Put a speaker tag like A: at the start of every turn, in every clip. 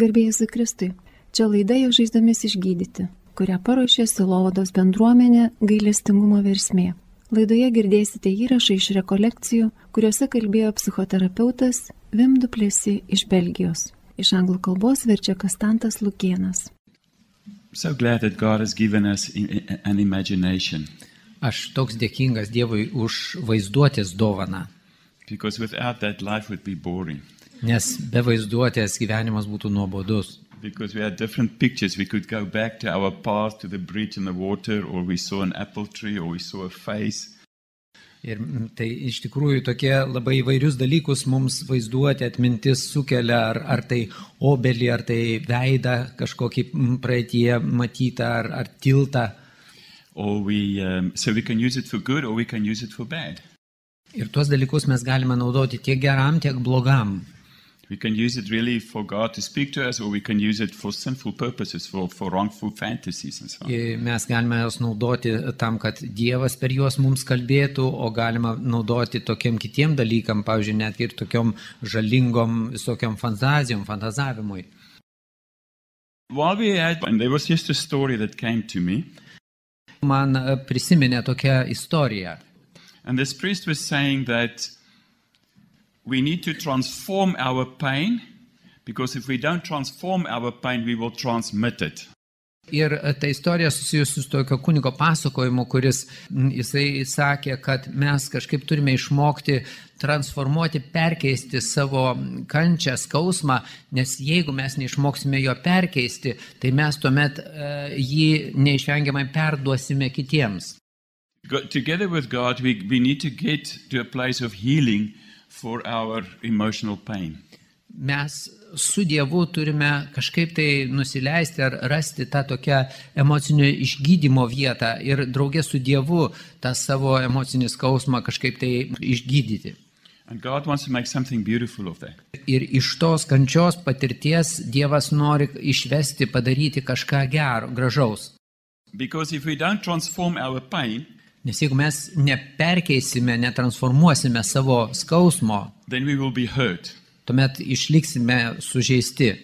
A: Garbėjai Zikristui, čia laida jau žaizdomis išgydyti, kurią paruošė Silovados bendruomenė gailestingumo versmė. Laidoje girdėsite įrašą iš rekolekcijų, kuriuose kalbėjo psichoterapeutas Vim Duplėsi iš Belgijos. Iš anglų kalbos verčia Kastantas Lukienas.
B: So glad that God has given us i- an imagination
C: Aš toks dėkingas Dievui už vaizduotės dovaną,
B: because without that, life would be boring.
C: nes be vaizduotės gyvenimas būtų nuobodus.
B: Because we had different pictures. We could go back to our path, to the bridge and the water, or we saw an apple tree, or we saw a face.
C: Ir mm, tai iš tikrųjų tokie labai įvairius dalykus mums vaizduoti atmintis sukelia, ar, ar tai obelį, ar tai veidą kažkokį mm, praeitie matytą, ar, ar tiltą.
B: Or we, um, so we can use it for good or we can use it for bad.
C: Ir tuos dalykus mes galime naudoti tiek geram, tiek blogam.
B: We can use it really for God to speak to us, or we can use it for sinful purposes, for, for wrongful fantasies and so on.
C: Ir Mes galime juos naudoti tam, kad Dievas per juos mums kalbėtų, o galima naudoti tokiem kitiem dalykam, pavyzdžiui, net ir tokiom žalingom visokiom fantazijom, fantazavimui.
B: While we had, and there was just a story that came to me,
C: Man e, prisiminė tokia istorija.
B: and this priest was saying that we need to transform our pain, because if we don't transform our pain, we will transmit it.
C: Ir e, ta istorija susijusi su tokio kunigo pasakojimu, kuris m, jisai sakė, kad mes kažkaip turime išmokti transformuoti, perkeisti savo kančią, skausmą, nes jeigu mes neišmoksime jo perkeisti, tai mes tuomet e, jį neišvengiamai perduosime kitiems.
B: Go- Together with God, we, we need to get to a place of healing for our emotional pain.
C: Mes su Dievu turime kažkaip tai nusileisti ar rasti tą tokią emocinio išgydymo vietą ir draugė su Dievu tą savo emocinį skausmą kažkaip tai išgydyti.
B: And God wants to make something beautiful of that.
C: Ir iš tos kančios patirties Dievas nori išvesti, padaryti kažką gero, gražaus.
B: Because if we don't transform our pain,
C: Nes jeigu mes neperkeisime, netransformuosime savo skausmo,
B: then we will be hurt.
C: tuomet išliksime sužeisti.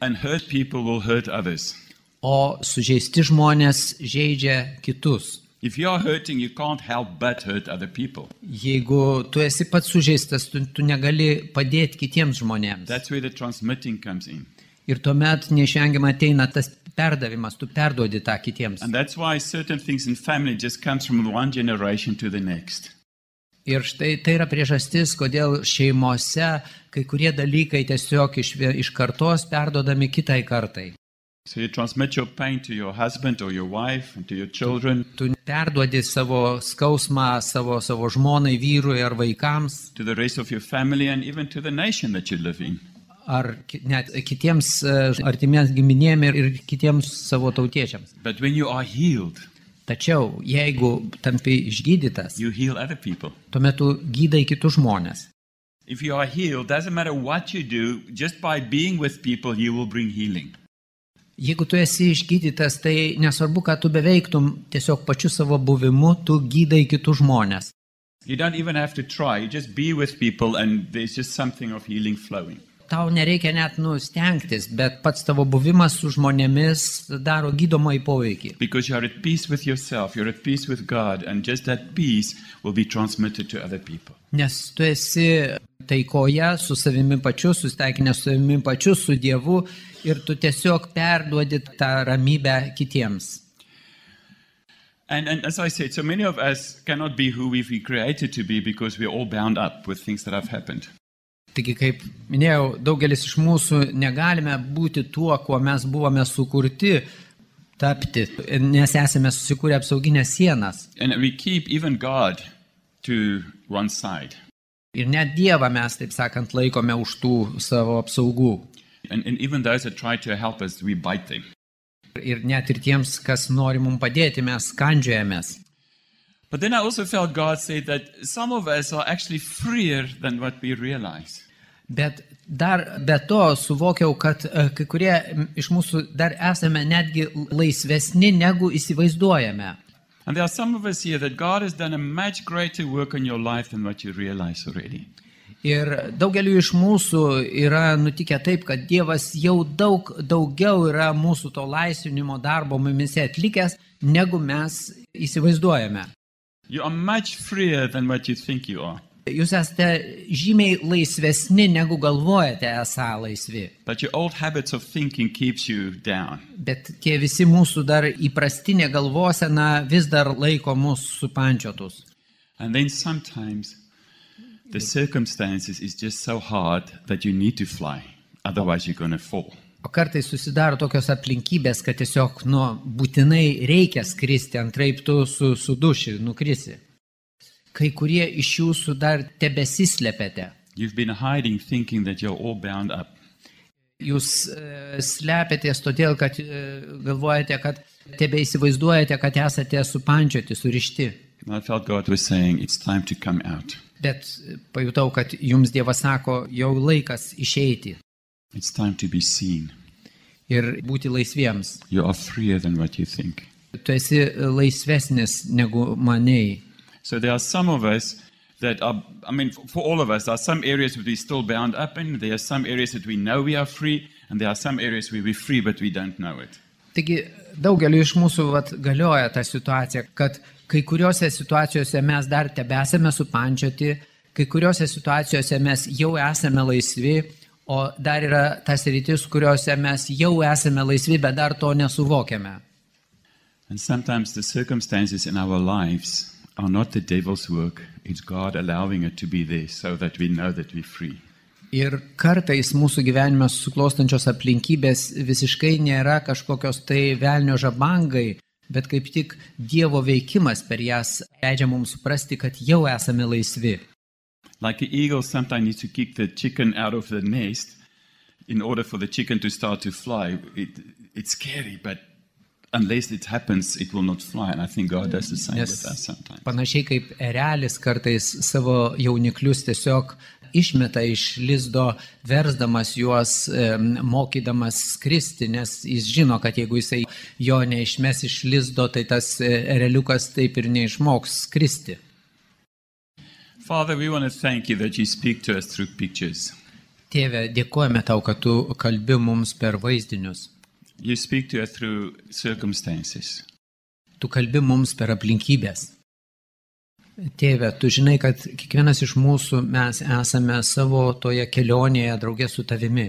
B: And hurt people will hurt others.
C: O sužeisti žmonės žaidžia kitus.
B: If you're hurting, you can't help but hurt other people.
C: Jeigu tu esi pats sužeistas, tu, tu negali padėti kitiems žmonėms.
B: That's where the transmitting comes in.
C: Ir tuomet neišvengiamai ateina tas perdavimas, tu perduodi tą kitiems.
B: And that's why certain things in family just comes from one generation to the next.
C: Ir štai tai yra priežastis, kodėl šeimose kai kurie dalykai tiesiog iš, vie- iš kartos perdodami kitai kartai.
B: So you transmit your pain to your husband or your wife and to your children,
C: Tu perduodi savo skausmą savo, savo žmonai, vyrui ar vaikams,
B: to the rest of your family, and even to the nation that you live in.
C: ar ki- net kitiems e, artimiems giminėm ir, ir kitiems savo tautiečiams.
B: But when you are healed,
C: Tačiau, jeigu tampi išgydytas,
B: you heal other people.
C: tuomet tu gydai kitus žmonės.
B: If you are healed, doesn't matter what you do, just by being with people, you will bring healing.
C: Jeigu tu esi išgydytas, tai nesvarbu, ką tu beveiktum, tiesiog pačiu savo buvimu tu gydai kitus žmonės.
B: You don't even have to try, you just be with people, and there's just something of healing flowing.
C: Tau nereikia net nustengtis, bet pats tavo buvimas su žmonėmis daro gydomai poveikį.
B: Because you're at peace with yourself, you're at peace with God, and just that peace will be transmitted to other people.
C: Nes tu esi taikoje su savimi pačiu, susitaikinęs su savimi pačiu, su Dievu ir tu tiesiog perduodi tą ramybę kitiems.
B: And, and as I said, so many of us cannot be who we've been created to be because we're all bound up with things that have happened.
C: Taigi, kaip minėjau, daugelis iš mūsų negalime būti tuo, kuo mes buvome sukurti tapti, nes esame susikūrę apsauginės sienas.
B: And we keep even God to one side.
C: Ir net Dievą mes, taip sakant, laikome už tų savo apsaugų.
B: And, and even those that try to help us, we bite them.
C: Ir net ir tiems, kas nori mums padėti, mes kandžiojamės.
B: But then I also felt God say that some of us are actually freer than what we realize.
C: Bet dar be to suvokiau, kad e, kai kurie m, iš mūsų dar esame netgi laisvesni, negu įsivaizduojame.
B: And there are some of us here that God has done a much greater work in your life than what you realize already.
C: Ir daugeliu iš mūsų yra nutikę taip, kad Dievas jau daug daugiau yra mūsų to laisvinimo darbo mumise atlikęs, negu mes įsivaizduojame.
B: You are much freer than what you think you are,
C: Jūs esate žymiai laisvesni, negu galvojate esą laisvi.
B: but your old habits of thinking keeps you down.
C: Bet tie visi mūsų dar įprastinė galvosena vis dar laiko mūsų supančiotus.
B: And then sometimes the circumstances is just so hard that you need to fly, otherwise you're going to fall.
C: O kartais susidaro tokios aplinkybės, kad tiesiog, nu, būtinai reikia skristi, antraip tu su, suduši, nukrisi. Kai kurie iš jūsų dar tebesislepėte.
B: You've been hiding thinking that you're all bound up.
C: Jūs e, slepiatės todėl, kad e, galvojate, kad tebe įsivaizduojate, kad esate supančioti, surišti.
B: And I felt God was saying, it's time to come out.
C: Bet e, pajutau, kad jums Dievas sako, jau laikas išeiti
B: It's time to be seen.
C: ir būti laisviems.
B: You are freer than what you think.
C: Tu esi laisvesnis negu maniai.
B: So there are some of us that are, I mean, for for all of us, there are some areas that we're still bound up in. There are some areas that we know we are free, and there are some areas where we're free but we don't know it.
C: Taigi daugeliu iš mūsų vat, galioja ta situacija, kad kai kuriuose situacijose mes dar tebesame supančioti, kai kuriuose situacijose mes jau esame laisvi, o dar yra tas rytis, kuriuose mes jau esame laisvi, bet dar to nesuvokiame.
B: And sometimes the circumstances in our lives are not the devil's work, it's God allowing it to be there so that we know that we're free.
C: Ir kartais mūsų gyvenime susiklostančios aplinkybės visiškai nėra kažkokios tai velnio žabangai, bet kaip tik Dievo veikimas per jas leidžia mums suprasti, kad jau esame laisvi.
B: Like the eagle sometimes needs to kick the chicken out of the nest in order for the chicken to start to fly. It, it's scary, but unless it happens, it will not fly. And I think God does the same
C: Nes
B: with us sometimes.
C: panašiai kaip erelis kartais savo jauniklius tiesiog išmeta iš lizdo, versdamas juos, em, mokydamas skristi, nes jis žino, kad jeigu jisai jo neišmes iš lizdo, tai tas e, ereliukas taip ir neišmoks skristi.
B: Father, we want to thank you that you speak to us through pictures.
C: Tėve, dėkojame tau, kad tu kalbi mums per vaizdinius.
B: You speak to us through circumstances.
C: Tu kalbi mums per aplinkybės. Tėve, tu žinai, kad kiekvienas iš mūsų mes esame savo toje kelionėje draugė su tavimi.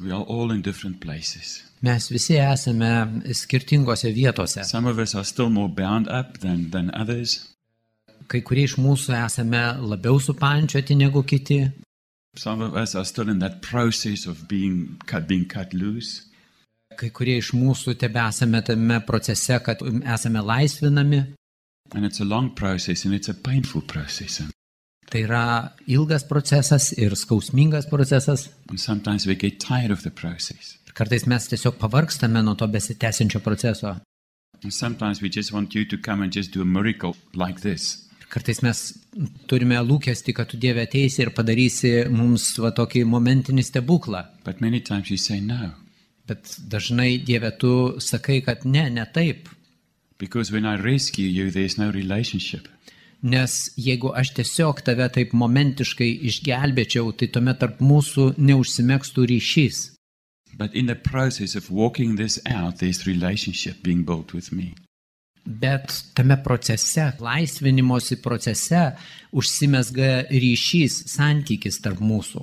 B: We are all in different places.
C: Mes visi esame skirtingose vietose.
B: Some of us are still more bound up than, than others.
C: Kai kurie iš mūsų esame labiau supančioti negu kiti.
B: Some of us are still in that process of being cut, being cut loose.
C: Kai kurie iš mūsų tebe esame tame procese, kad esame laisvinami.
B: And it's a long process and it's a painful process.
C: Tai yra ilgas procesas ir skausmingas procesas.
B: And sometimes we get tired of the process.
C: Ir kartais mes tiesiog pavargstame nuo to besitęsiančio proceso.
B: And sometimes we just want you to come and just do a miracle like this.
C: Ir kartais mes turime lūkesti, kad tu Dieve ateisi ir padarysi mums va tokį momentinį stebuklą.
B: But many times you say no.
C: Bet dažnai Dieve tu sakai, kad ne, ne taip.
B: Because when I rescue you, there's no relationship.
C: Nes jeigu aš tiesiog tave taip momentiškai išgelbėčiau, tai tuomet tarp mūsų neužsimėgstų ryšys.
B: But in the process of walking this out, there's relationship being built with me.
C: Bet tame procese, laisvinimosi procese, užsimesga ryšys, santykis tarp mūsų.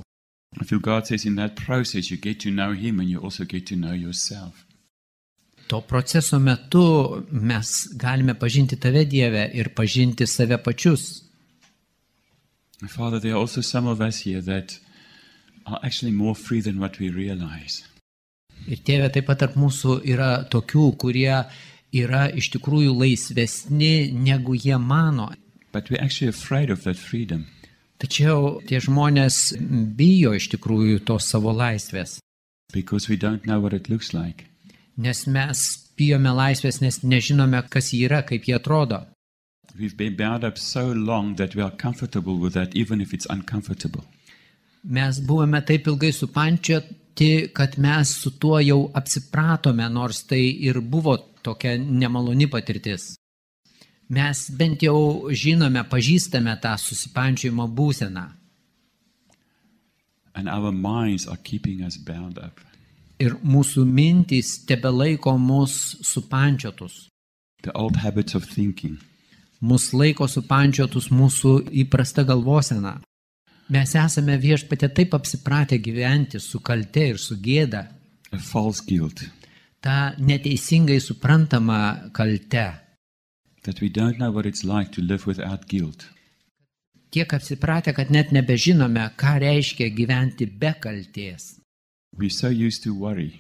B: I feel God says in that process, you get to know Him and you also get to know yourself.
C: To proceso metu mes galime pažinti tave Dievę ir pažinti save pačius.
B: And Father, there are also some of us here that are actually more free than what we realize.
C: Ir tėvė taip pat tarp mūsų yra tokių, kurie yra iš tikrųjų laisvesni, negu jie mano.
B: But we're actually afraid of that freedom.
C: Tačiau tie žmonės bijo iš tikrųjų tos savo laisvės,
B: because we don't know what it looks like.
C: nes mes bijome laisvės, nes nežinome, kas ji yra, kaip ji atrodo.
B: We've been bound up so long that we are comfortable with that, even if it's uncomfortable.
C: Mes buvome taip ilgai supančioti, kad mes su tuo jau apsipratome, nors tai ir buvo tokia nemaloni patirtis. Mes bent jau žinome, pažįstame tą susipančiojimo būseną.
B: and our minds are keeping us bound up.
C: Ir mūsų mintys tebelaiko mus supančiotus.
B: The old habits of thinking.
C: mus laiko supančiotus mūsų įprasta galvosena. Mes esame viešpatė taip apsipratę gyventi su kalte ir su gėda,
B: a false guilt
C: ta neteisingai suprantama kalte.
B: that we don't know what it's like to live without guilt.
C: Tiek apsipratę, kad net nebežinome, ką reiškia gyventi be kalties.
B: We're so used to worry.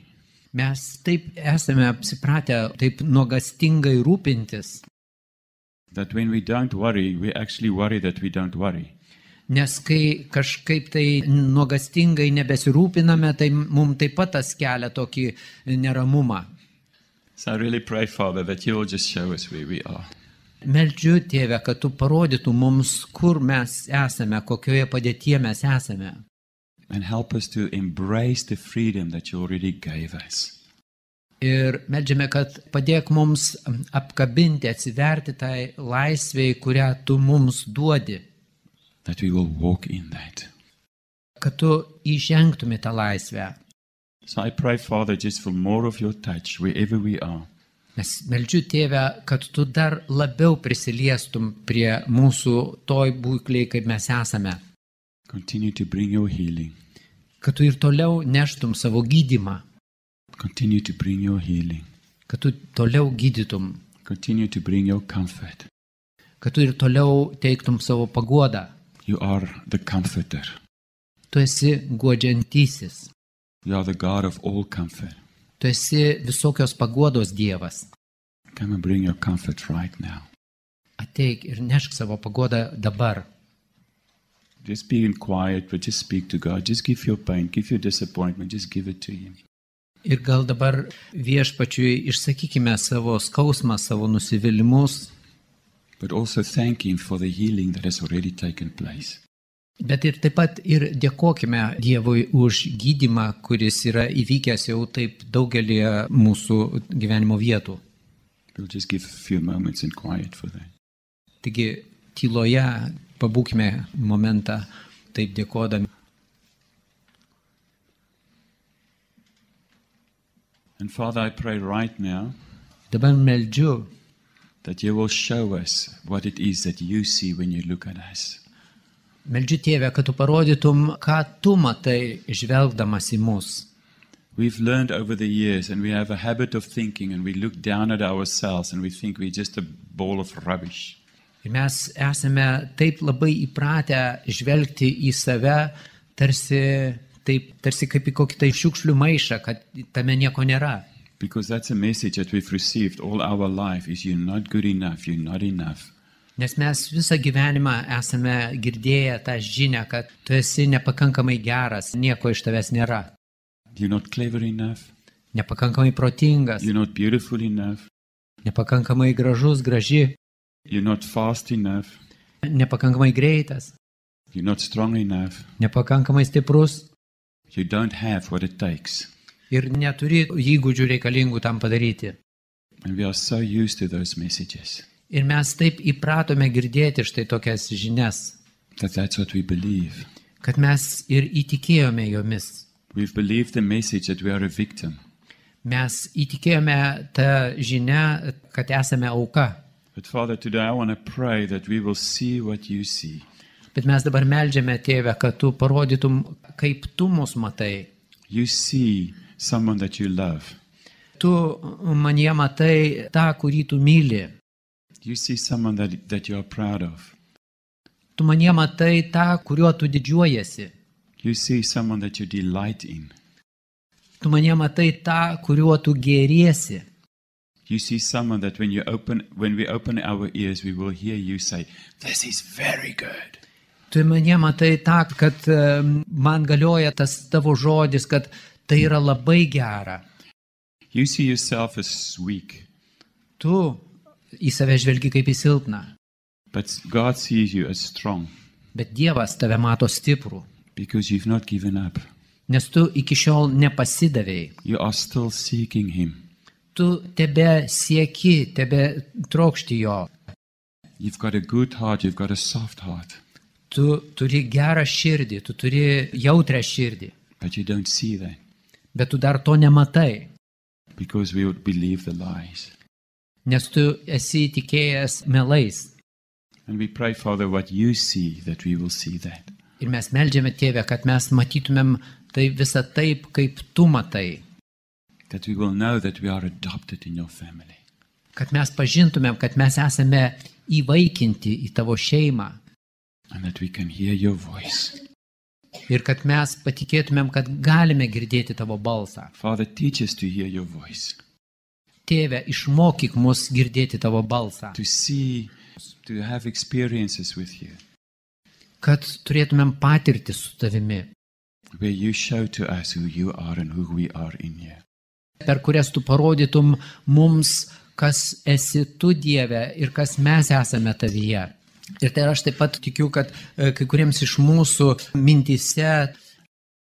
C: Mes taip esame apsipratę taip nuogastingai rūpintis,
B: That when we don't worry, we actually worry that we don't worry.
C: nes kai kažkaip tai nuogastingai nebesirūpiname, tai mums taip pat tas kelia tokį neramumą.
B: So I really pray, Father, that you'll just show us where we are.
C: Meldžiu, tėve, kad tu parodytų mums, kur mes esame, kokioje padėtyje mes esame.
B: And help us to embrace the freedom that you already gave us.
C: Ir meldžiame, kad padėk mums apkabinti, atsiverti tai laisvėjai, kurią tu mums duodi,
B: That we will walk in that.
C: kad tu įžengtumė tą laisvę.
B: So I pray, Father, just for more of your touch wherever we are.
C: Mes meldžiu, tėve, kad tu dar labiau prisiliestum prie mūsų toj būkliai, kaip mes esame,
B: Continue to bring your healing.
C: kad tu ir toliau neštum savo gydimą,
B: Continue to bring your healing.
C: kad tu toliau gydytum,
B: Continue to bring your comfort.
C: kad tu ir toliau teiktum savo paguodą.
B: You are the comforter.
C: Tu esi godžiantysis,
B: You are the God of all comfort.
C: tu esi visokios paguodos Dievas.
B: Come and bring your comfort right now.
C: Ateik ir nešk savo paguodą dabar.
B: Just be in quiet, but just speak to God. Just give your pain, give your disappointment, just give it to Him.
C: Ir gal dabar viešpačiui išsakykime savo skausmą, savo nusivylimus,
B: But also thank Him for the healing that has already taken place.
C: bet ir taip pat ir dėkojime Dievui už gydimą, kuris yra įvykęs jau taip daugelį mūsų gyvenimo vietų.
B: We'll just give a few moments in quiet for that.
C: Taigi tyloje pabūkime momentą taip dėkodami.
B: And Father, I pray right now
C: Dabar meldžiu
B: that you will show us what it is that you see when you look at us.
C: Meldžiu tėvę, kad tu parodytum, ką tu matai, žvelgdamas į mus.
B: We've learned over the years, and we have a habit of thinking, and we look down at ourselves and we think we're just a ball of rubbish.
C: Ir mes esame taip labai įpratę žvelgti į save, tarsi, taip, tarsi kaip į kokį tai šiukšlių maišą, kad tame nieko nėra.
B: Because that's a message that we've received all our life is you're not good enough, you're not enough.
C: Nes mes visą gyvenimą esame girdėję tą žinę, kad tu esi nepakankamai geras, nieko iš tavęs nėra.
B: You're not clever enough,
C: Nepakankamai protingas,
B: you're not beautiful enough,
C: nepakankamai gražus, graži,
B: you're not fast enough,
C: nepakankamai greitas,
B: you're not strong enough,
C: nepakankamai stiprus,
B: you don't have what it takes.
C: ir neturi įgūdžių reikalingų tam padaryti.
B: And we are so used to those messages
C: Ir mes taip įpratome girdėti štai tokias žinias,
B: that that's what we believe.
C: kad mes ir įtikėjome jomis.
B: We've believed the message that we are a victim,
C: Mes įtikėjome tą žinę, kad esame auka.
B: But Father, today I want to pray that we will see what you see,
C: Bet mes dabar melžiame tėvę, kad tu parodytum, kaip tu mus matai.
B: You see someone that you love.
C: Tu manie matai tą, kurį tu myli.
B: You see someone that, that you are proud of.
C: Tu manie matai tą, kuriuo tu didžiuojasi.
B: You see someone that you delight in.
C: Tu manie matai tą, kuriuo tu gėriesi.
B: You see someone that when you open when we open our ears, we will hear you say, This is very good.
C: Tu mane matai tą, kad e, man galioja tas tavo žodis, kad tai yra labai gera.
B: You see yourself as weak,
C: Tu į save žvelgi kaip į silpną,
B: but God sees you as strong
C: bet Dievas tave mato stiprų,
B: because you've not given up.
C: nes tu iki šiol nepasidavėjai.
B: You are still seeking Him.
C: Tu tebe sieki, tebe trokšti jo.
B: You've got a good heart, you've got a soft heart.
C: tu turi gerą širdį, tu turi jautrę širdį,
B: But you don't see that
C: bet tu dar to nematai,
B: because we would believe the lies.
C: nes tu esi įtikėjęs melais.
B: And we pray, Father, what you see, that we will see that.
C: Ir mes melžiame Tėvę, kad mes matytumėm tai visą taip, kaip tu matai,
B: That we will know that we are adopted in your family.
C: kad mes pažintumėm, kad mes esame įvaikinti į tavo šeimą
B: And that we can hear your voice.
C: ir kad mes patikėtumėm, kad galime girdėti tavo balsą.
B: Father, teach us to hear your voice,
C: Tėve, išmokyk mus girdėti tavo balsą,
B: to see, to have experiences with you,
C: kad turėtumėm patirtį su tavimi,
B: where you show to us who you are and who we are in you.
C: per kurias tu parodytum mums, kas esi tu Dieve ir kas mes esame tavyje. Ir tai aš taip pat tikiu, kad e, kai kuriems iš mūsų mintise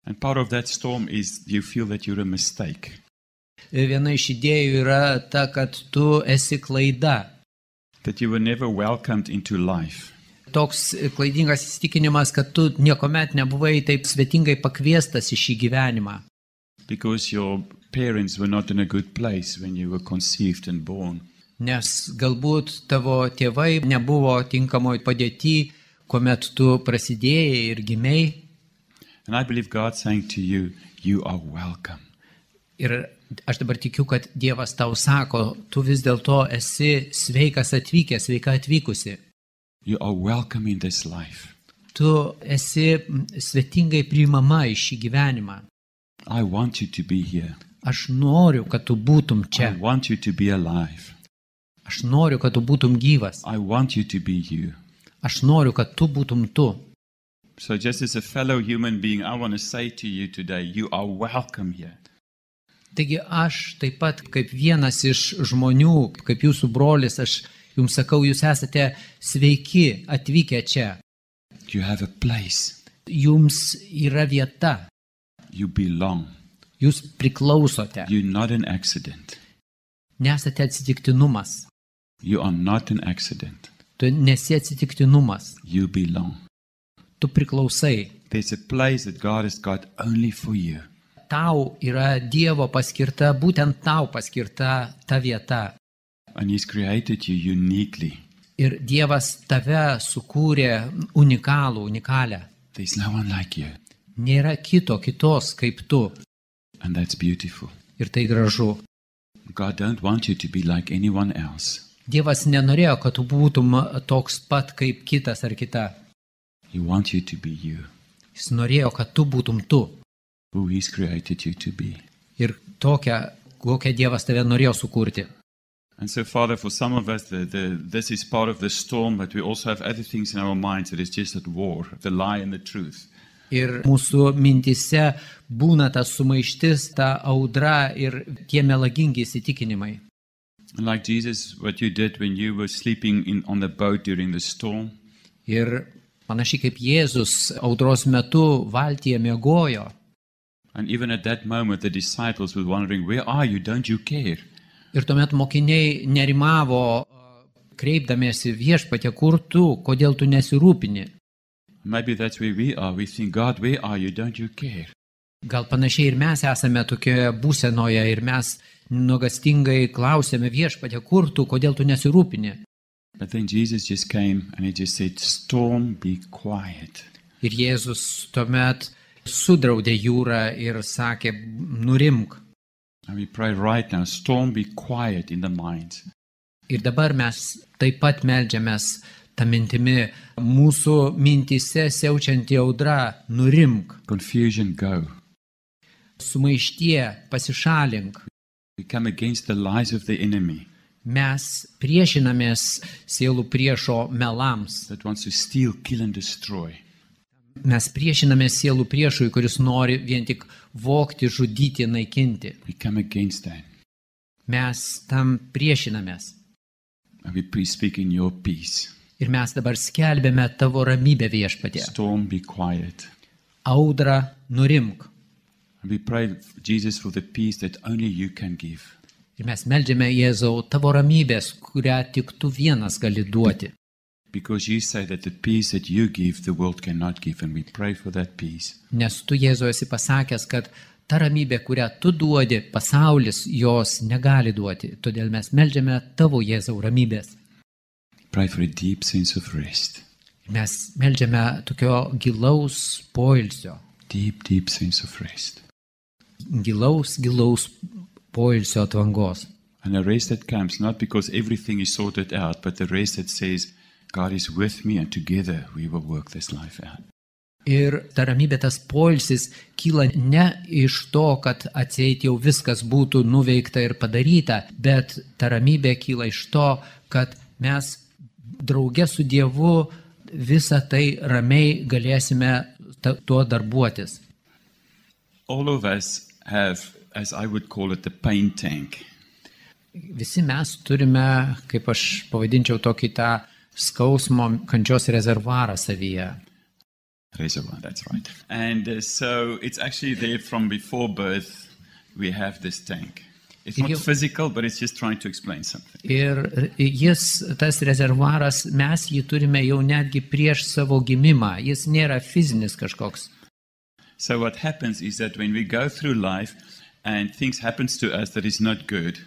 B: And part of that storm is you feel that you're a mistake.
C: viena iš idėjų yra ta, kad tu esi klaida.
B: that you were never welcomed into life.
C: Toks klaidingas įsitikinimas, kad tu niekuomet nebuvai taip svetingai pakviestas į šį gyvenimą.
B: Because your parents were not in a good place when you were conceived and born.
C: Nes galbūt tavo tėvai nebuvo tinkamoj padėti, kuomet tu prasidėjai ir gimiai.
B: And I believe God saying to you, You are welcome.
C: Ir aš dabar tikiu, kad Dievas tau sako, tu vis dėlto esi sveikas atvykęs, sveika atvykusi.
B: You are welcome in this life.
C: Tu esi mm, svetingai priimama į šį gyvenimą.
B: I want you to be here.
C: Aš noriu, kad tu būtum čia.
B: I want you to be alive.
C: Aš noriu, kad tu būtum gyvas.
B: I want you to be you.
C: Aš noriu, kad tu būtum tu.
B: So, just as a fellow human being, I want to say to you today, You are welcome here.
C: Taigi aš taip pat kaip vienas iš žmonių, kaip jūsų brolis, aš jums sakau, jūs esate sveiki atvykę čia.
B: You have a place.
C: Jums yra vieta.
B: You belong.
C: Jūs priklausote.
B: You're not an accident.
C: Nesate atsitiktinumas.
B: You are not an accident.
C: Tu nesi atsitiktinumas,
B: You belong.
C: tu priklausai.
B: There's a place that God has got only for you.
C: Tau yra Dievo paskirta, būtent tau paskirta ta vieta.
B: And He's created you uniquely.
C: Ir Dievas tave sukūrė unikalų, unikalią.
B: There's no one like you.
C: Nėra kito, kitos kaip tu.
B: And that's beautiful.
C: Ir tai gražu.
B: God don't want you to be like anyone else.
C: Dievas nenorėjo, kad tu būtum toks pat kaip kitas ar kita.
B: He wants you to be you,
C: Jis norėjo, kad tu būtum tu.
B: who He's created you to be.
C: Ir tokia, kokią Dievas tave norėjo sukurti.
B: And so, Father, for some of us, the, the, this is part of the storm, but we also have other things in our minds that is just at war the lie and the truth.
C: Ir mūsų mintise būna ta sumaištis, ta audra ir tie melagingi įsitikinimai.
B: And like Jesus, what you did when you were sleeping in, on the boat during the storm,
C: Ir panašiai kaip Jėzus audros metu valtyje mėgojo.
B: and even at that moment, the disciples were wondering, Where are you? Don't you care?
C: Ir tuomet mokiniai nerimavo, kreipdamiesi viešpatė, kur tu, kodėl tu nesirūpini.
B: Maybe that's where we are. We think, God, where are you? Don't you care?
C: Gal panašiai ir mes esame tokioje būsenoje ir mes nuogastingai klausėme viešpatė, kur tu, kodėl tu nesirūpini.
B: But then Jesus just came and he just said, Storm, be quiet.
C: Ir Jėzus tuomet sudraudė jūrą ir sakė, nurimk.
B: And we pray right now, Storm, be quiet in the mind.
C: Ir dabar mes taip pat melžiamės tą mintimi, mūsų mintise siaučianti audra, nurimk,
B: Confusion, go.
C: sumaištie, pasišalink.
B: We come against the lies of the enemy
C: Mes priešinamės sielų priešo melams.
B: that wants to steal, kill, and destroy.
C: Mes priešinamės sielų priešui, kuris nori vien tik vokti, žudyti, naikinti.
B: We come against that.
C: Mes tam priešinamės.
B: And we pre speak in your peace.
C: Ir mes dabar skelbėme tavo ramybę viešpatė.
B: Storm, be quiet.
C: Audra nurimk.
B: And we pray, Jesus, for the peace that only you can give.
C: Ir mes melžiame Jėzau tavo ramybės, kurią tik tu vienas gali duoti.
B: Because you say that the peace that you give, the world cannot give, and we pray for that peace.
C: Nes tu Jėzau esi pasakęs, kad ta ramybė, kurią tu duodi, pasaulis jos negali duoti. Todėl mes melžiame tavo Jėzau ramybės.
B: Pray for a deep sense of rest,
C: Mes melžiame tokio gilaus poilsio.
B: deep, deep sense of rest.
C: Gilaus, gilaus poilsio atvangos.
B: And a rest that comes not because everything is sorted out, but the rest that says, God is with me, and together we will work this life out.
C: Ir ta ramybė, tas poilsis kyla ne iš to, kad atseit jau viskas būtų nuveikta ir padaryta, bet ta ramybė kyla iš to, kad mes drauge su Dievu visą tai ramiai galėsime ta, tuo darbuotis.
B: All of us have, as I would call it, the pain tank.
C: Visi mes turime, kaip aš pavadinčiau, tokį tą skausmo kančios rezervuarą savyje.
B: Reservoir, that's right. And uh, so it's actually there from before birth, we have this tank. It's
C: If
B: not
C: you-
B: physical, but it's just trying to explain something.
C: Ir jis, tas rezervuaras, mes jį turime jau netgi prieš savo gimimą. Jis nėra fizinis kažkoks.
B: So what happens is that when we go through life and things happens to us that is not good,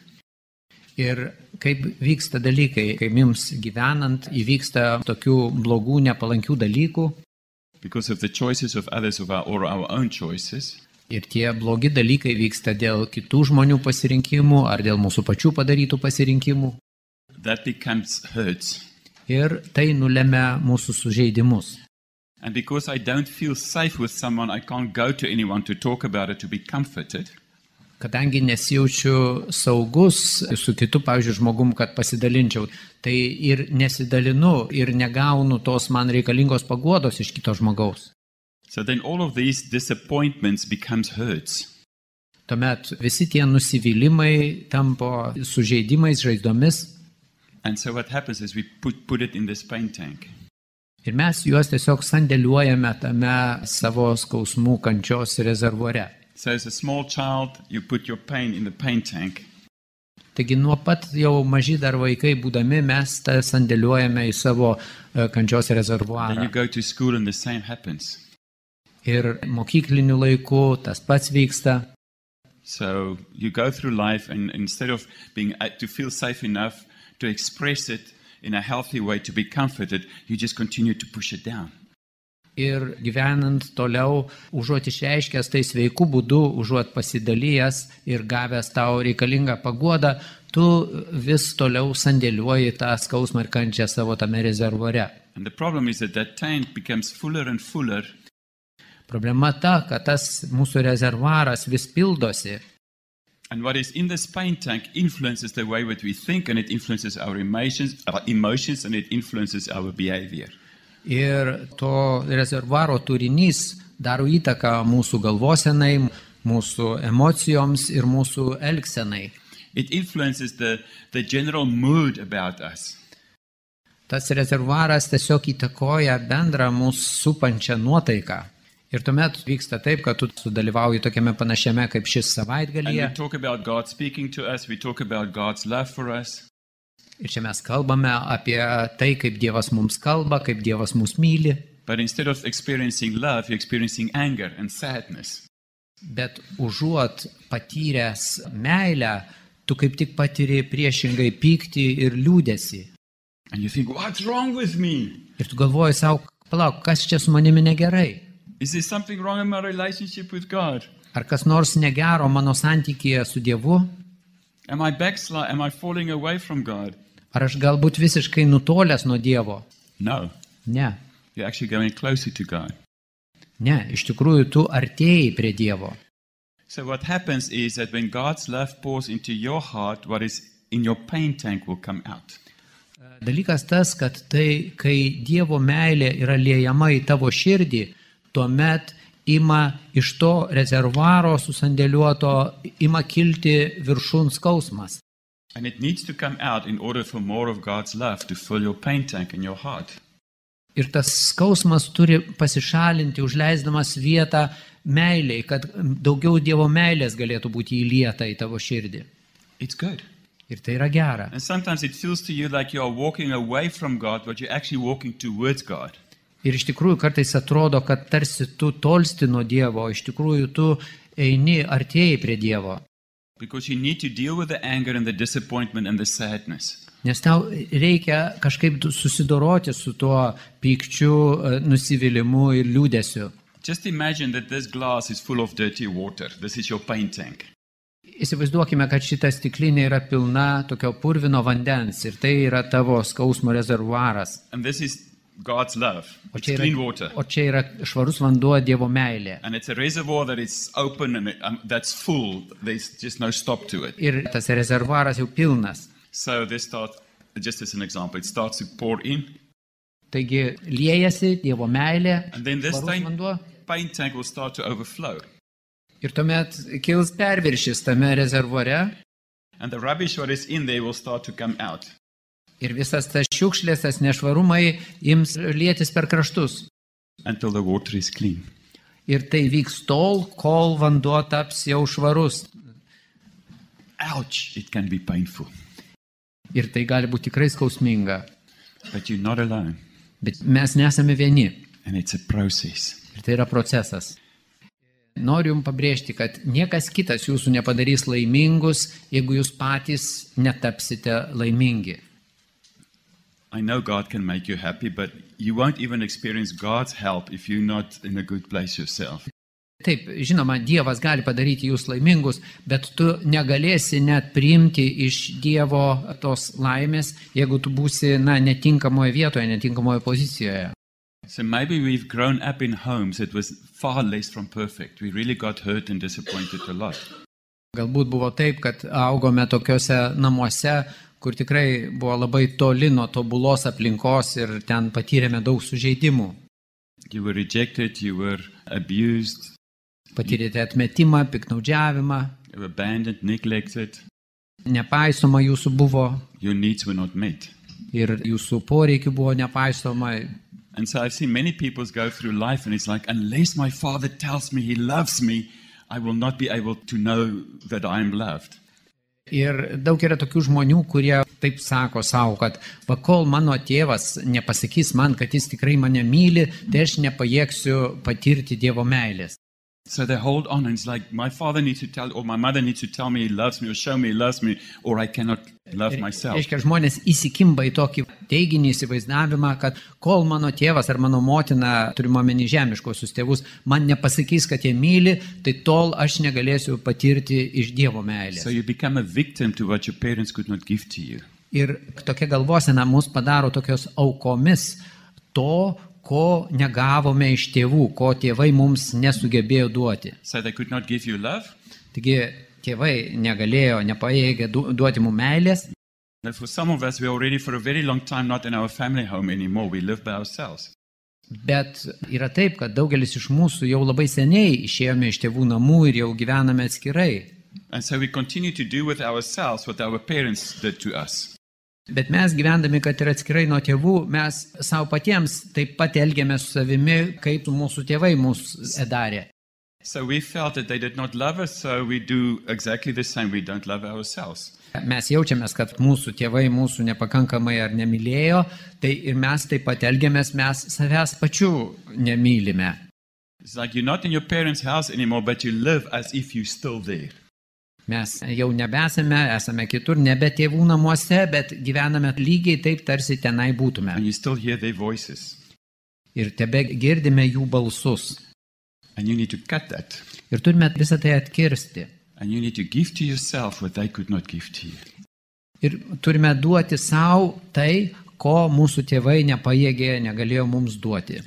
C: Ir kaip vyksta dalykai, kai mums gyvenant įvyksta tokių blogų, nepalankių dalykų.
B: because of the choices of others of our, or our own choices,
C: Ir tie blogi dalykai vyksta dėl kitų žmonių pasirinkimų ar dėl mūsų pačių padarytų pasirinkimų.
B: that becomes hurts.
C: Ir tai nulėmė mūsų sužeidimus.
B: And because I don't feel safe with someone, I can't go to anyone to talk about it, to be comforted.
C: Kadangi nesijaučiu saugus su kitu, pavyzdžiui, žmogum, kad pasidalinčiau, tai ir nesidalinu ir negaunu tos man reikalingos paguodos iš kito žmogaus.
B: So then all of these disappointments becomes hurts.
C: Tuomet visi tie nusivylimai tampo sužeidimais, žaizdomis
B: And so what happens is we put, put it in this pain tank.
C: ir mes juos tiesiog sandėliuojame tame savo skausmų kančios rezervuare.
B: So as a small child, you put your pain in the pain tank.
C: Taigi nuo pat jau maži dar vaikai būdami mes tą sandėliuojame į savo e, kančios
B: Then
C: rezervuarą.
B: you go to school and the same happens.
C: Ir mokykliniu laiku tas pats vyksta.
B: So you go through life and instead of being a- to feel safe enough to express it in a healthy way to be comforted, you just continue to push it down.
C: Ir gyvenant toliau, užuot išreiškęs tai sveiku būdu, užuot pasidalijęs ir gavęs tau reikalingą paguodą, tu vis toliau sandėliuoji tą skausmą ir kančią savo tame rezervuare.
B: And the problem is that that tank becomes fuller and fuller
C: Problema ta, kad tas mūsų rezervuaras vis pildosi
B: And what is in this pain tank influences the way that we think, and it influences our emotions, our emotions, and it influences our behavior.
C: ir to rezervuaro turinys daro įtaką mūsų galvosenai, mūsų emocijoms ir mūsų elgsenai.
B: It influences the, the general mood about us.
C: Tas rezervuaras tiesiog įtakoja bendrą mūsų supančią nuotaiką. Ir tuomet vyksta taip, kad tu sudalyvauji tokiame panašiame kaip šis
B: And
C: savaitgalyje.
B: we talk about God speaking to us, we talk about God's love for us,
C: Ir čia mes kalbame apie tai, kaip Dievas mums kalba, kaip Dievas mus myli.
B: but instead of experiencing love, you're experiencing anger and sadness.
C: Bet užuot patyręs meilę, tu kaip tik patiri priešingai pyktį ir liūdėsi.
B: And you think, What's wrong with me?
C: Ir tu galvoji savo, palauk, kas čia su manimi negerai?
B: Is there something wrong in my relationship with God?
C: Ar kas nors negero mano santykėje su Dievu?
B: Am I backslide? Am I falling away from God?
C: Ar aš galbūt visiškai nutolęs nuo Dievo?
B: No,
C: Ne,
B: you're actually going closer to God.
C: ne, iš tikrųjų tu artėjai prie Dievo.
B: So what happens is that when God's love pours into your heart, what is in your pain tank will come out.
C: Dalykas tas, kad tai, kai Dievo meilė yra liejama į tavo širdį, tuomet ima iš to rezervuaro susandėliuoto, ima kilti viršūn skausmas.
B: And it needs to come out in order for more of God's love to fill your pain tank in your heart.
C: Ir tas skausmas turi pasišalinti, užleisdamas vietą meiliai, kad daugiau Dievo meilės galėtų būti įlieta į tavo širdį.
B: It's good.
C: Ir tai yra gera.
B: And sometimes it feels to you like you are walking away from God, but you're actually walking towards God.
C: Ir iš tikrųjų kartais atrodo, kad tarsi tu tolsti nuo Dievo, o iš tikrųjų tu eini artėjai prie Dievo.
B: Because you need to deal with the anger and the disappointment and the sadness.
C: Nes tau reikia kažkaip tu- susidoroti su tuo pykčiu, e, nusivylimu ir liūdėsiu.
B: Just imagine that this glass is full of dirty water. This is your paint tank.
C: Įsivaizduokime, kad šita stiklinė yra pilna tokio purvino vandens ir tai yra tavo skausmo rezervuaras.
B: And this is God's love.
C: O
B: It's
C: čia
B: clean
C: yra,
B: water.
C: o čia yra švarus vanduo Dievo meilė.
B: And it's a reservoir that is open and it, um, that's full. There's just no stop to it.
C: Ir tas rezervuaras jau pilnas.
B: So this starts, just as an example, it starts to pour in.
C: Taigi liejasi Dievo meilė,
B: And then this
C: švarus
B: tank,
C: vanduo
B: paint tank will start to overflow.
C: ir tuomet kils perviršis tame rezervuare
B: And the rubbish what is in there will start to come out.
C: ir visas tas šiukšlės, tas nešvarumai ims lietis per kraštus.
B: until the water is clean.
C: Ir tai vyks tol, kol vanduo taps jau švarus.
B: Ouch! It can be painful,
C: Ir tai gali būti tikrai skausminga.
B: but you're not alone,
C: Bet mes nesame vieni.
B: and it's a process.
C: Ir tai yra procesas. Noriu Jums pabrėžti, kad niekas kitas Jūsų nepadarys laimingus, jeigu Jūs patys netapsite laimingi.
B: I know God can make you happy, but you won't even experience God's help if you're not in a good place yourself.
C: Taip, žinoma, Dievas gali padaryti Jūs laimingus, bet tu negalėsi net priimti iš Dievo tos laimės, jeigu tu būsi, na, netinkamoje vietoje, netinkamoje pozicijoje.
B: So maybe we've grown up in homes that was far less from perfect. We really got hurt and disappointed a lot.
C: Galbūt buvo taip, kad augome tokiuose namuose, kur tikrai buvo labai toli nuo tobulos aplinkos ir ten patyrėme daug sužeidimų.
B: You were rejected, you were abused,
C: Patyrėte atmetimą, piknaudžiavimą,
B: you were abandoned, neglected.
C: nepaisoma jūsų buvo
B: Your needs were not met.
C: ir jūsų poreikių buvo nepaisoma.
B: And so I've seen many people go through life, and it's like, unless my father tells me he loves me, I will not be able to know that I am loved.
C: Ir daug yra tokių žmonių, kurie taip sako savo, kad va kol mano tėvas nepasakys man, kad jis tikrai mane myli, tai aš nepajėgsiu patirti Dievo meilės.
B: So they hold on, and it's like, my father needs to tell, or my mother needs to tell me he loves me, or show me he loves me, or I cannot love myself.
C: Reiškia, žmonės įsikimba į tokį teiginį įsivaizdavimą, kad kol mano tėvas ar mano motina, turimo meni žemiškosius tėvus, man nepasakys, kad jie myli, tai tol aš negalėsiu patirti iš Dievo meilės.
B: So you become a victim to what your parents could not give to you.
C: Ir tokia galvosena mus padaro tokios aukomis to, ko negavome iš tėvų, ko tėvai mums nesugebėjo duoti.
B: So they could not give you love.
C: Taigi tėvai negalėjo, nepajėgė du- duoti mums meilės.
B: And for some of us, we're already for a very long time not in our family home anymore. We live by ourselves.
C: Bet yra taip, kad daugelis iš mūsų jau labai seniai išėjome iš tėvų namų ir jau gyvename atskirai.
B: And so we continue to do with ourselves what our parents did to us.
C: Bet mes gyvendami, kad ir atskirai nuo tėvų, mes savo patiems taip pat elgiamės su savimi, kaip mūsų tėvai mūsų darė.
B: So we felt that they did not love us, so we do exactly the same. We don't love ourselves.
C: Mes jaučiamės, kad mūsų tėvai mūsų nepakankamai ar nemylėjo, tai ir mes taip pat elgiamės, mes savęs pačių nemylime.
B: It's like you're not in your parents' house anymore, but you live as if you're still there.
C: Mes jau nebesame, esame kitur, nebe tėvų namuose, bet gyvename lygiai taip, tarsi tenai būtume.
B: And you still hear their voices.
C: ir tebe girdime jų balsus.
B: And you need to cut that.
C: Ir turime visą tai atkirsti.
B: And you need to give to yourself what they could not give to you.
C: Ir turime duoti savo tai, ko mūsų tėvai nepajėgė, negalėjo mums duoti.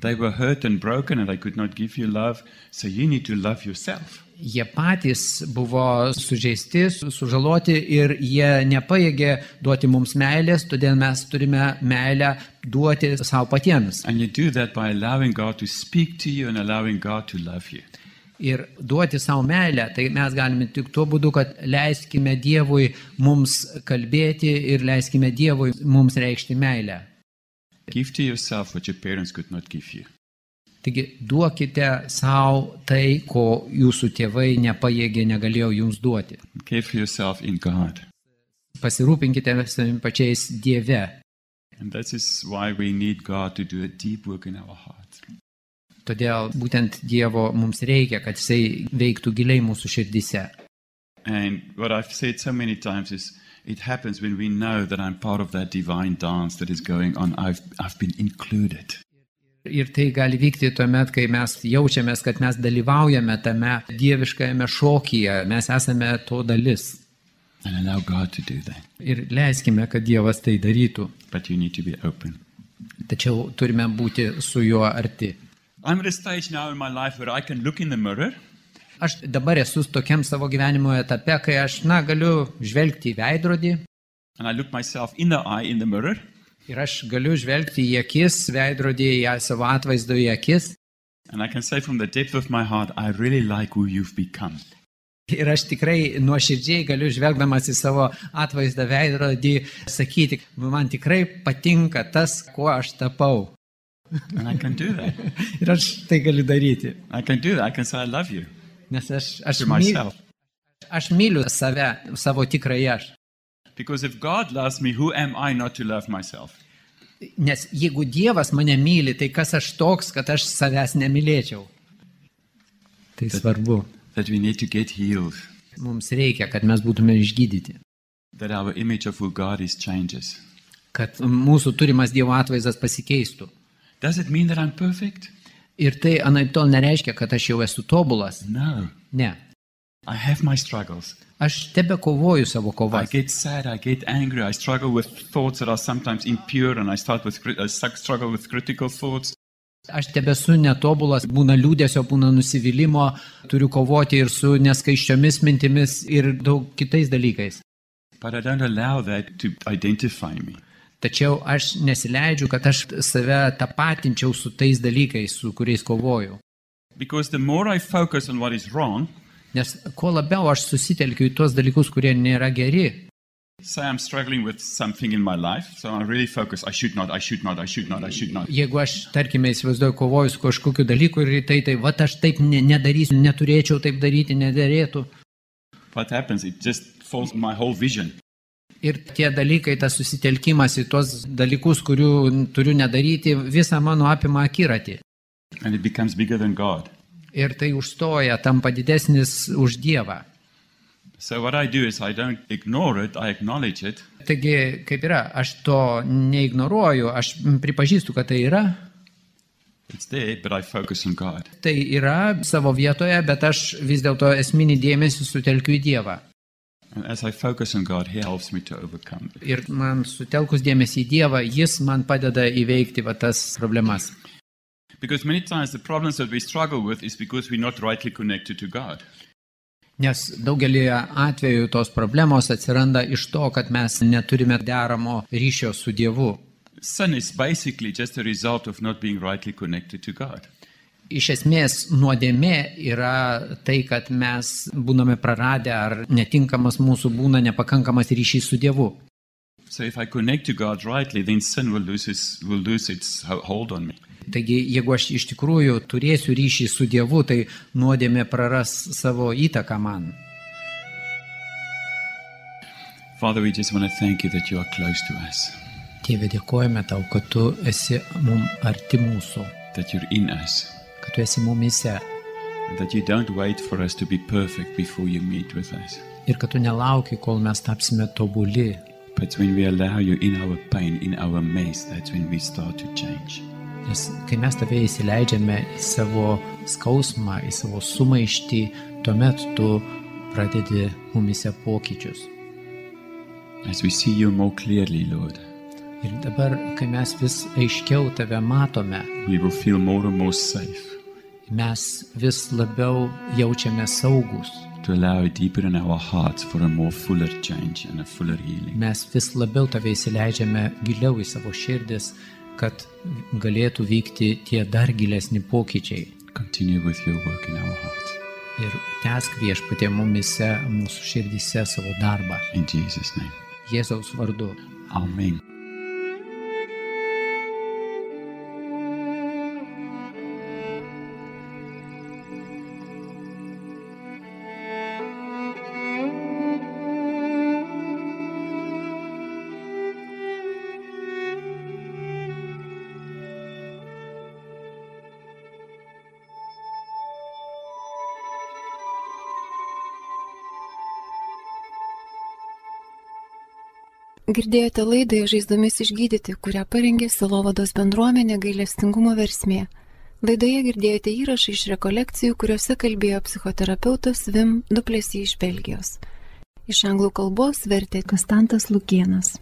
B: They were hurt and broken, and they could not give you love, so you need to love yourself.
C: Jie patys buvo sužeisti, su- sužaloti ir jie nepajėgė duoti mums meilės, todėl mes turime meilę duoti savo patiems.
B: And you do that by allowing God to speak to you and allowing God to love you.
C: Ir duoti savo meilę, tai mes galime tik tuo būdu, kad leiskime Dievui mums kalbėti ir leiskime Dievui mums reikšti meilę.
B: Give to yourself what your parents could not give you.
C: Taigi duokite savo tai, ko jūsų tėvai nepajėgė, negalėjo jums duoti.
B: And care for yourself in God.
C: Pasirūpinkite savimi pačiais Dieve.
B: And that is why we need God to do a deep work in our heart.
C: Todėl būtent Dievo mums reikia, kad Jisai veiktų giliai mūsų širdise.
B: And what I've said so many times is it happens when we know that I'm part of that divine dance that is going on. I've, I've been included.
C: Ir tai gali vykti tuomet, kai mes jaučiamės, kad mes dalyvaujame tame dieviškajame šokyje, mes esame to dalis.
B: And allow God to do that.
C: Ir leiskime, kad Dievas tai darytų.
B: But you need to be open.
C: Tačiau turime būti su juo arti.
B: I'm at a stage now in my life where I can look in the mirror
C: Aš dabar esu tokiam savo gyvenimo etape, kai aš, na, galiu žvelgti į veidrodį
B: and I look myself in the eye in the mirror
C: ir aš galiu žvelgti į akis, veidrodį, į savo atvaizdą į akis.
B: and I can say from the depth of my heart, I really like who you've become.
C: Ir aš tikrai nuoširdžiai galiu, žvelgdamas į savo atvaizdą veidrodį, sakyti, man tikrai patinka tas, kuo aš tapau.
B: And I can do that.
C: Ir aš tai galiu daryti,
B: I can do that. I can say, I love you
C: nes aš, aš,
B: to
C: myliu,
B: myself.
C: aš myliu save, savo tikrąjį aš.
B: Because if God loves me, who am I not to love myself?
C: Nes jeigu Dievas mane myli, tai kas aš toks, kad aš savęs nemylėčiau? Tai svarbu.
B: That we need to get healed,
C: Mums reikia, kad mes būtume išgydyti.
B: that our image of who God is changes.
C: Kad mūsų turimas Dievo atvaizdas pasikeistų.
B: Does it mean that I'm perfect?
C: Ir tai anaip tol nereiškia, kad aš jau esu tobulas.
B: No.
C: Ne.
B: I have my struggles.
C: Aš tebe kovoju savo
B: I
C: kovą.
B: get sad, I get angry, I struggle with thoughts that are sometimes impure, and I, start with, cri- I suck- struggle with critical thoughts.
C: Aš tebe esu netobulas, būna liūdėsio, būna nusivylimų, turiu kovoti ir su neskaiščiomis mintimis ir daug kitais dalykais.
B: But I don't allow that to identify me.
C: Tačiau aš nesileidžiu, kad aš save tapatinčiau su tais dalykais, su kuriais kovoju.
B: Because the more I focus on what is wrong,
C: Nes kuo labiau aš susitelkiu į tuos dalykus, kurie nėra geri.
B: say I'm struggling with something in my life, so I really focus, I should not, I should not, I should not, I should not.
C: Jeigu aš, tarkime, įsivaizduoju kovoju su kažkokiu dalyku ir tai, tai, va, aš taip ne, nedarysiu, neturėčiau taip daryti, nederėtų.
B: What happens? It just falls my whole vision.
C: Ir tie dalykai, tas susitelkimas į tuos dalykus, kurių turiu nedaryti, visą mano apima akiratį.
B: and it becomes bigger than God.
C: Ir tai užstoja, tampa didesnis už Dievą.
B: So what I do is I don't ignore it, I acknowledge it,
C: Taigi, kaip yra, aš to neignoruoju, aš mm, pripažįstu, kad tai yra.
B: it's there, but I focus on God.
C: Tai yra savo vietoje, bet aš vis dėlto esminį dėmesį sutelkiu į Dievą.
B: And as I focus on God, He helps me to overcome it.
C: Ir man sutelkus dėmesį į Dievą, Jis man padeda įveikti va, tas problemas.
B: Because many times the problems that we struggle with is because we're not rightly connected to God.
C: Nes daugelį atvejų tos problemos atsiranda iš to, kad mes neturime deramo ryšio su Dievu.
B: Sin is basically just a result of not being rightly connected to God.
C: Iš esmės, nuodėmė yra tai, kad mes būname praradę ar netinkamas mūsų būna nepakankamas ryšys su Dievu.
B: So if I connect to God rightly, then sin will lose its, will lose its ho- hold on me.
C: Taigi, jeigu aš iš tikrųjų turėsiu ryšį su Dievu, tai nuodėmė praras savo įtaką man.
B: Father, we just want to thank you that you are close to us,
C: Tėve, dėkojame tau, kad tu esi mum arti mūsų,
B: that you're in us,
C: kad tu esi mumise
B: and that you don't wait for us to be perfect before you meet with us.
C: ir kad tu nelauki, kol mes tapsime tobuli.
B: But when we allow you in our pain, in our mess, that's when we start to change.
C: Nes kai mes tave įsileidžiame į savo skausmą, į savo sumaištį, tuomet tu pradedi mumise pokyčius.
B: As we see you more clearly, Lord,
C: Ir dabar, kai mes vis aiškiau tave matome,
B: we will feel more and more safe
C: mes vis labiau jaučiame saugus.
B: to allow it deeper in our hearts for a more fuller change and a fuller healing.
C: Mes vis labiau tave įsileidžiame giliau į savo širdis, kad galėtų vykti tie dar gilesni pokyčiai.
B: Continue with your work in our hearts.
C: Ir tęsk viešpatie mumise, mūsų širdise savo darbą.
B: In Jesus' name.
C: Jėzaus vardu.
B: Amen.
A: Girdėjote laidą Žaizdomis išgydyti, kurią parengė Silovados bendruomenė gailestingumo versmė. Laidoje girdėjote įrašą iš rekolekcijų, kuriuose kalbėjo psichoterapeutas Vim Duplesy iš Belgijos. Iš anglų kalbos vertė Konstantas Lukienas.